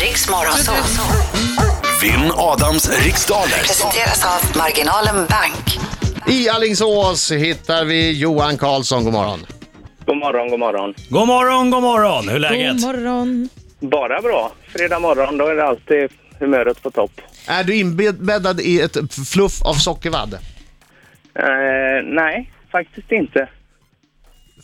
Riks Morgonzoo. Vinn Adams riksdaler. Presenteras av Marginalen Bank. I Alingsås hittar vi Johan Karlsson, god morgon. God morgon, god morgon. God morgon, god morgon. Hur är läget? God morgon. Bara bra. Fredag morgon, då är det alltid humöret på topp. Är du inbäddad i ett fluff av sockervadd? Eh, nej, faktiskt inte.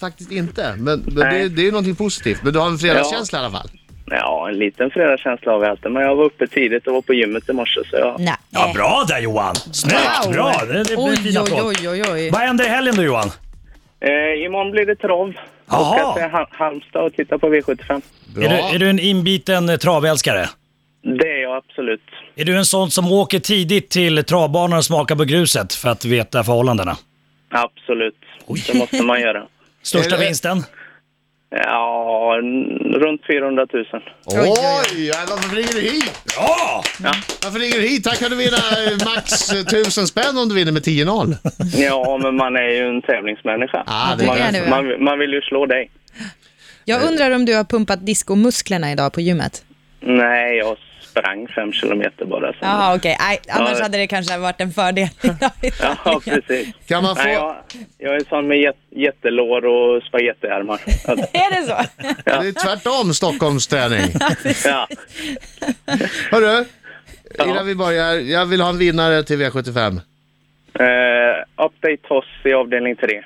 Faktiskt inte, men, men Nej. det, det är ju någonting positivt. Men du har en fredagskänsla i alla fall. Ja, en liten fredagskänsla har vi alltid, men jag var uppe tidigt och var på gymmet i morse, så jag... Nej. Ja, bra där Johan! Snyggt! Wow. Bra! Det, det blir Oj, fina oj, applåd. oj, oj, oj. Vad händer i helgen då Johan? Eh, imorgon blir det trav. Jaha. Jag ska till Hal- Halmstad och titta på V75. Är du, är du en inbiten eh, travälskare? Det är jag absolut. Är du en sån som åker tidigt till travbanan och smakar på gruset för att veta förhållandena? Absolut. Det måste man göra. Största Är det- vinsten? Ja, n- runt 400 000. Oj, ja, varför ringer du hit? Mm. Ja! Varför ringer du hit? Här kan du vinna eh, max eh, 1000 spänn om du vinner med 10-0. Ja, men man är ju en tävlingsmänniska. Ah, det är det man, nu, man, man vill ju slå dig. Jag undrar om du har pumpat diskomusklerna idag på gymmet? Nej, jag sprang fem kilometer bara. sen. Ja, okej. Nej, Annars Ja. hade det kanske varit en fördel idag i Ja, tävlingen. precis. Kan man Nej, få... jag, jag är sån med jät- jättelår och spagettiärmar. Att- Är det så? Det är tvärtom Stockholms träning. Ja. Hörru, Ja. innan vi börjar. Jag vill ha en vinnare till V75. Eh, update oss i avdelning 3.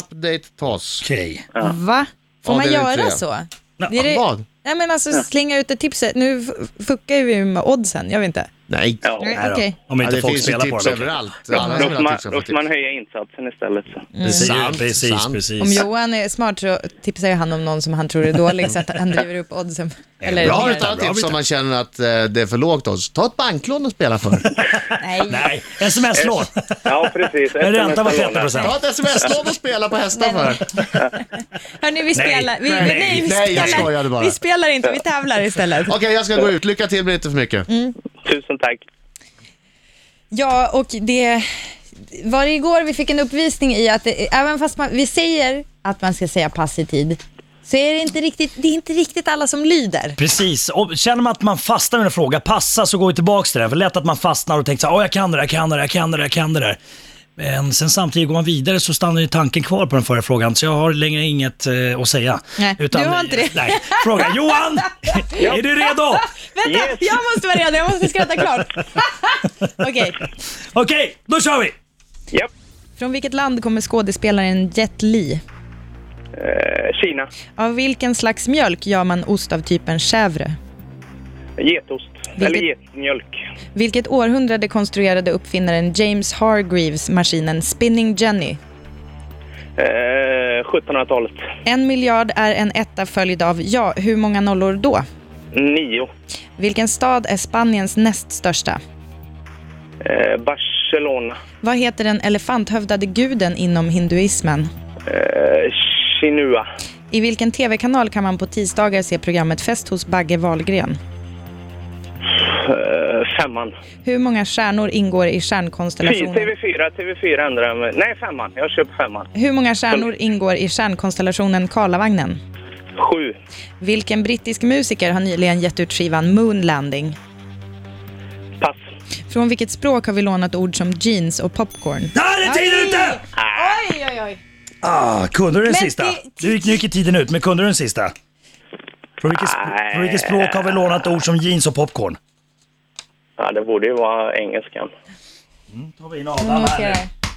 Update Toss. Okej. Va? Får Ja, man det är det göra tre. så? Nej, Är det- vad? Nej, men alltså slänga ut ett tipset. Nu f- fuckar ju vi med oddsen, jag vet inte. Nej. Ja. Nej, då. okej. Om Ja, inte det folk finns ju spelar på tips det. överallt. Alla Då som får vill ha man, tips då får får tips. man höja insatsen istället. Så. Precis, Sant, precis, Mm. sant. Om precis. Johan är smart så tipsar ju han om någon som han tror är dålig så att han driver upp oddsen. Eller, Bra mer. ett annat Bra tips bitar. om man känner att eh, det är för lågt oss. Ta ett banklån och spela för. Nej. Nej, sms-lån. Ja, precis. En ränta på Efter 30 nästa lån. procent. Ta ett sms-lån och spela på hästar för. Hörni, Nej. vi spelar. Vi, Nej. nej, vi Nej, jag spelar. skojade bara. Vi spelar inte, vi tävlar istället. Okej, jag ska gå ut. Lycka till, blir inte för mycket. Mm. Tusen tack. Ja, och det var det igår vi fick en uppvisning i att det, även fast man, vi säger att man ska säga pass i tid, så är det inte riktigt, det är inte riktigt alla som lyder. Precis, och känner man att man fastnar med en fråga, passa så går vi tillbaks till det. För det är lätt att man fastnar och tänker så här, "Åh, jag kan det där, jag kan det där, jag kan det där, jag kan det där. Men sen samtidigt går man vidare så stannar ju tanken kvar på den förra frågan, så jag har längre inget eh, att säga. eh, Nej, du har inte det. Nej, fråga Johan! är du redo? Vänta, Yes. jag måste vara redo, jag måste skratta klart. Okej, Okej, då kör vi! Japp. från vilket land kommer skådespelaren Jet Li? Eh, Kina. Av vilken slags mjölk gör man ost av typen chèvre? Getost. Eller getmjölk. Vilket århundrade konstruerade uppfinnaren James Hargreaves maskinen Spinning Jenny? Eh, 1700-talet. En miljard är en etta följd av ja, hur många nollor då? Nio. Vilken stad är Spaniens näst största? Eh, Barcelona. Vad heter den elefanthövdade guden inom hinduismen? Eh, Chinua. I vilken tv-kanal kan man på tisdagar se programmet Fest hos Bagge Wahlgren? Eh, femman. Hur många stjärnor ingår i Fy- stjärnkonstellationen? TV4, TV4 ändrar jag mig. Nej, femman. Jag köper femman. Hur många stjärnor ingår i stjärnkonstellationen Karlavagnen? Sju. Vilken brittisk musiker har nyligen gett ut skivan Moonlanding? Pass. Från vilket språk har vi lånat ord som jeans och popcorn? Där är tiden ute! Oj, oj, oj. Ah, kunde du den Men sista? det- Du gick, nu gick tiden ut, men kunde du den sista? Från vilket, sp- från vilket språk har vi lånat ord som jeans och popcorn? Ja, det borde ju vara engelskan. Tar vi in Adam Mm, här nu.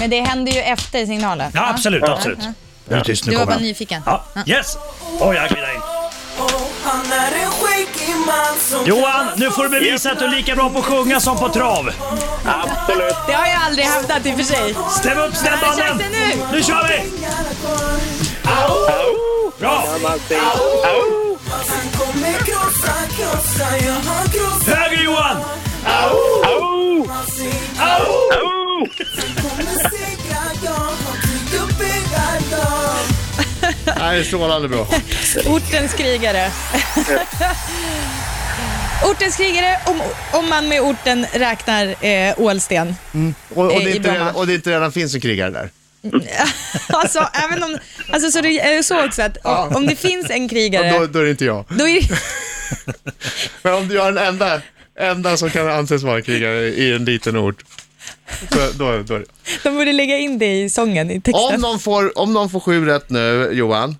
Men det händer ju efter signalen. Ja, absolut, absolut. Nu är det tyst, nu Du Mm. var kommer bara han. nyfiken. Ja, yes! Oj, jag glider in. Han är en skäggig man som Johan, nu får du bevisa att du är lika bra på att sjunga som på trav. Absolut. Det har jag aldrig hävdat i och för sig. Stäm upp Här stämbanden! känns det nu. Nu kör vi! Bra! Au! Han kommer krossa, krossa, ja han krossar Höger Johan! Au! sig Au! Au! Kommer segra, ja han bygger väggar, ja Nej, det är strålande bra. Ortens krigare. Ortens krigare om, om man med orten räknar eh, Ålsten. Och, och, Eh, det i inte Bromma. redan, och det inte redan finns en krigare där. Alltså, Eh. även om, alltså så det är ju så också att om, om det finns en krigare, Då, då är det inte jag. då är Men om du är den enda, enda som kan anses vara en krigare i en liten ort, så, då, då är det. De borde lägga in det i sången, i texten. Om någon, får, om någon får sju rätt nu, Johan,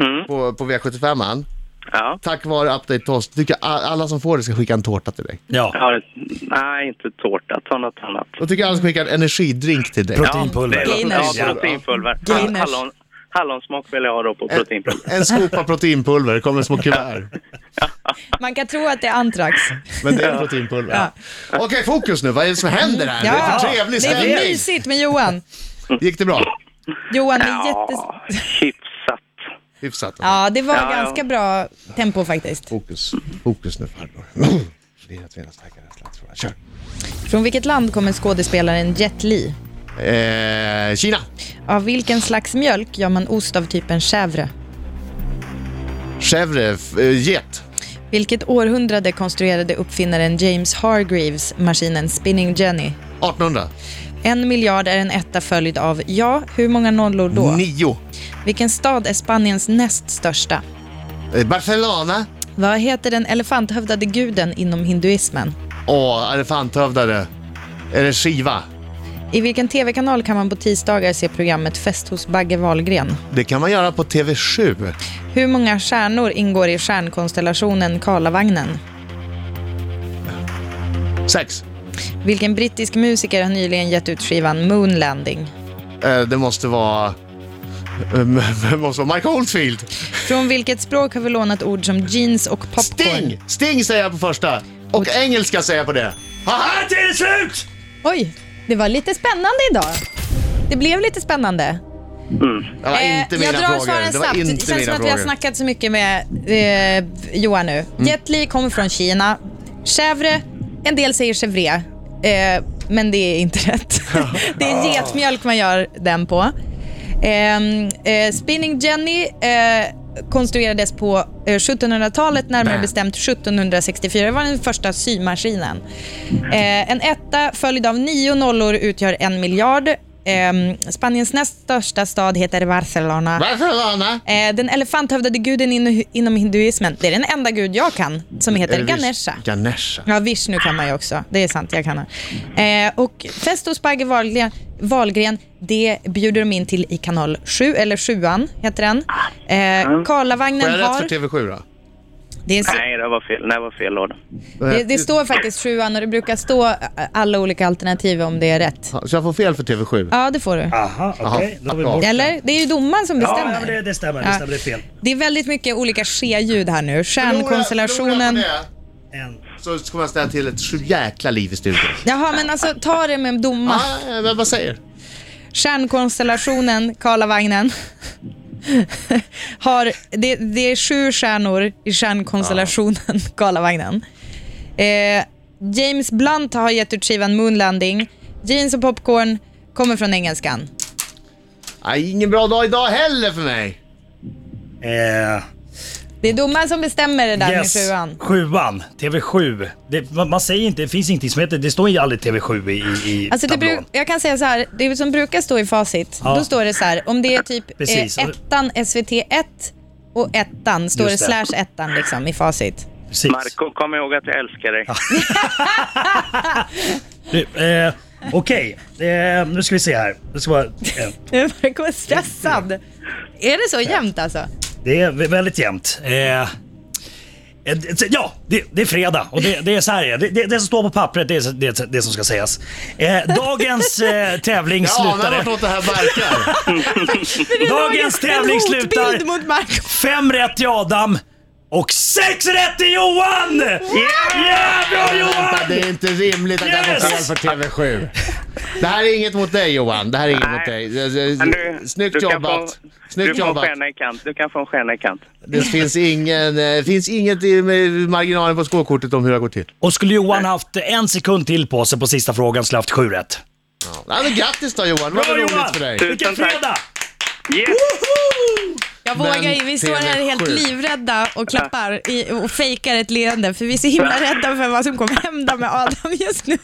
Mm. på, på V75an, Ja. tack vare Update Toast, tycker jag a- alla som får det ska skicka en tårta till dig. Ja, ja. Nej, inte tårta. Ta något annat. Då tycker jag alla ska skicka en energidrink till dig. proteinpulver. det är- Gainers. Ja, proteinpulver. Gainers. Hallon, hallonsmak vill jag ha då på Äh, proteinpulver. En skopa proteinpulver, det kommer små kuvert. Man kan tro att det är antrax. Men det är proteinpulver. Ja. Okej, fokus nu. Vad är det som händer här? Det är för trevlig det är stämning. mysigt med Johan. Gick det bra? Johan är jättes... Ja, hyfsat. Hyfsat. Ja, det var Ja, ja. ganska bra tempo faktiskt. Fokus. Fokus nu farbror. Virat, virat, starkare, slagsfråga. Kör. Från vilket land kommer skådespelaren Jet Li? Eh, Kina. Av vilken slags mjölk gör man ost av typen chèvre? Chevre. F- eh, get. Vilket århundrade konstruerade uppfinnaren James Hargreaves maskinen Spinning Jenny? 1800. En miljard är en etta följd av, ja, hur många nollor då? Nio. Vilken stad är Spaniens näst största? Eh, Barcelona. Vad heter den elefanthövdade guden inom hinduismen? Åh, elefanthövdare. eh? Är det Shiva? I vilken tv-kanal kan man på tisdagar se programmet Fest hos Bagge Wahlgren? Det kan man göra på TV7. Hur många stjärnor ingår i stjärnkonstellationen Karlavagnen? Sex. Vilken brittisk musiker har nyligen gett ut skivan Moonlanding? Eh, det måste vara... eh, Det måste vara Mike Oldfield. Från vilket språk har vi lånat ord som jeans och popcorn? Sting! Sting säger jag på första. Och engelska säger jag på det. Haha, det är slut! Oj, det var lite spännande idag. Det blev lite spännande. Det var Eh, inte mina jag drar frågor. svaren det var snabbt. Det, inte känns mina som att vi har frågor. snackat så mycket med eh, Johan nu. Jet Li kommer från Kina. Chèvre, en del säger chèvre, eh, men det är inte rätt. det är getmjölk man gör den på. Ehm, eh, Spinning Jenny eh, konstruerades på eh, 1700-talet, närmare Bam. bestämt 1764. Det var den första symaskinen. Eh, en etta följd av nio nollor utgör en miljard. Ehm, Spaniens näst största stad heter Barcelona. Barcelona. Eh, den elefanthövdade guden in, inom hinduismen, det är den enda gud jag kan, som heter Eller vis- Ganesha. Ganesha. Ja, Vishnu kan man ju också. Det är sant, jag kan han. Eh, och Fest hos Bagge Wahlgren, Wahlgren, det bjuder de in till i kanal 7, eller 7an heter den. Eh, Får jag Karlavagnen rätt har... för TV7 då? Det, är så, Nej, det var fel. Nej, det var fel låda. det, Eh, det står faktiskt 7an och det brukar stå eh, alla olika alternativ om det är rätt. Så jag får fel för TV7? Ja, det får du. Aha, okej. Då är vi bort. Eller? Det är ju domaren som Ja, ja, men bestämmer. det, det stämmer. Det Ja. stämmer. Det är fel. Det är väldigt mycket olika ske-ljud här nu. Förlorar jag Stjärnkonstellationen... på det, En. Så kommer jag ställa till ett så jäkla liv i studion. Jaha, men alltså ta det med en domare. Ah, men vad säger? Stjärnkonstellationen Karlavagnen har, det, det är sju stjärnor i stjärnkonstellationen Karlavagnen. Eh, James Blunt har gett ut skivan Moonlanding. Jeans och popcorn kommer från engelskan. Ah, ingen bra dag idag heller för mig. Eh, Det är domaren som bestämmer det där med yes. sjuan. Sjuan. TV7. Det, man, man säger inte, det finns ingenting som heter, det står ju aldrig TV7 i, i, i Alltså det tablån. bru- jag kan säga så här, det som brukar stå i facit, Ja. då står det så här, om det är typ Precis. eh, ettan SVT 1 och ettan, står det Just det. slash ettan liksom i facit. Precis. Marco, kom ihåg att jag älskar dig. Du, Eh, Okej, eh, nu ska vi se här. Det, ska vara, eh, Jag verkar stressad. Är det så jämnt alltså? det är vä- väldigt jämnt. Eh, eh, det- ja, det, det är fredag och det, det är så här det är. det, det, det som står på pappret det är så- det, är det som ska sägas. Eh, dagens eh, tävling Jag anar slutade... vartåt det här verkar. Dagens tävling slutar... mot Marco. Fem rätt till Adam och sex rätt till Johan! Yeah! bra Vänta, det Johan! är inte rimligt att jag får fel Yes! för TV7. Det här är inget mot dig Johan. Det här är inget Nej. mot dig. Det- det- Men du- Snyggt du kan jobbat. få- Snyggt du får en jobbat. stjärna i kant. Du kan få en stjärna i kant. Det finns, ingen, eh, finns inget i med marginalen på skåkortet om hur det har gått till. Och skulle Johan haft en sekund till på sig på sista frågan skulle han haft sju rätt. Ja, men grattis då Johan, vad Bra roligt Johan! för dig. Vilken Tusen tack. fredag! Yes! Jag Men vågar inte. Vi står här helt TV7. livrädda och klappar i, och fejkar ett leende för vi är så himla rädda för vad som kommer hända med Adam just nu.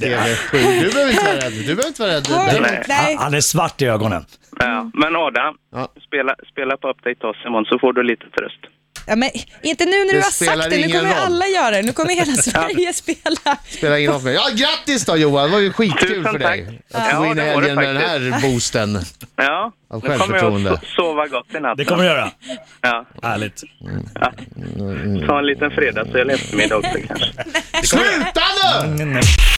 TV7, du behöver inte vara rädd. Du behöver inte vara rädd. Oj, Det- nej. Han, han är svart i ögonen. Ja, men Adam, Mm. Ja. spela, spela på Update Toss imorgon så får du lite tröst. Ja, men inte nu när du Det har spelar sagt det, nu ingen kommer ju roll. alla göra det. Nu kommer hela Sverige spela. Spelar ingen roll för mig. Ja, grattis då Johan, det var ju skitkul Tusen för dig. tack. Att gå Ja, in i det var det helgen med den här boosten. Ja, Av nu kommer jag självförtroende. att so- sova gott i natt. Det kommer du göra. Ja, Härligt. ta en liten fredagsöl i eftermiddag också kanske. Sluta nu!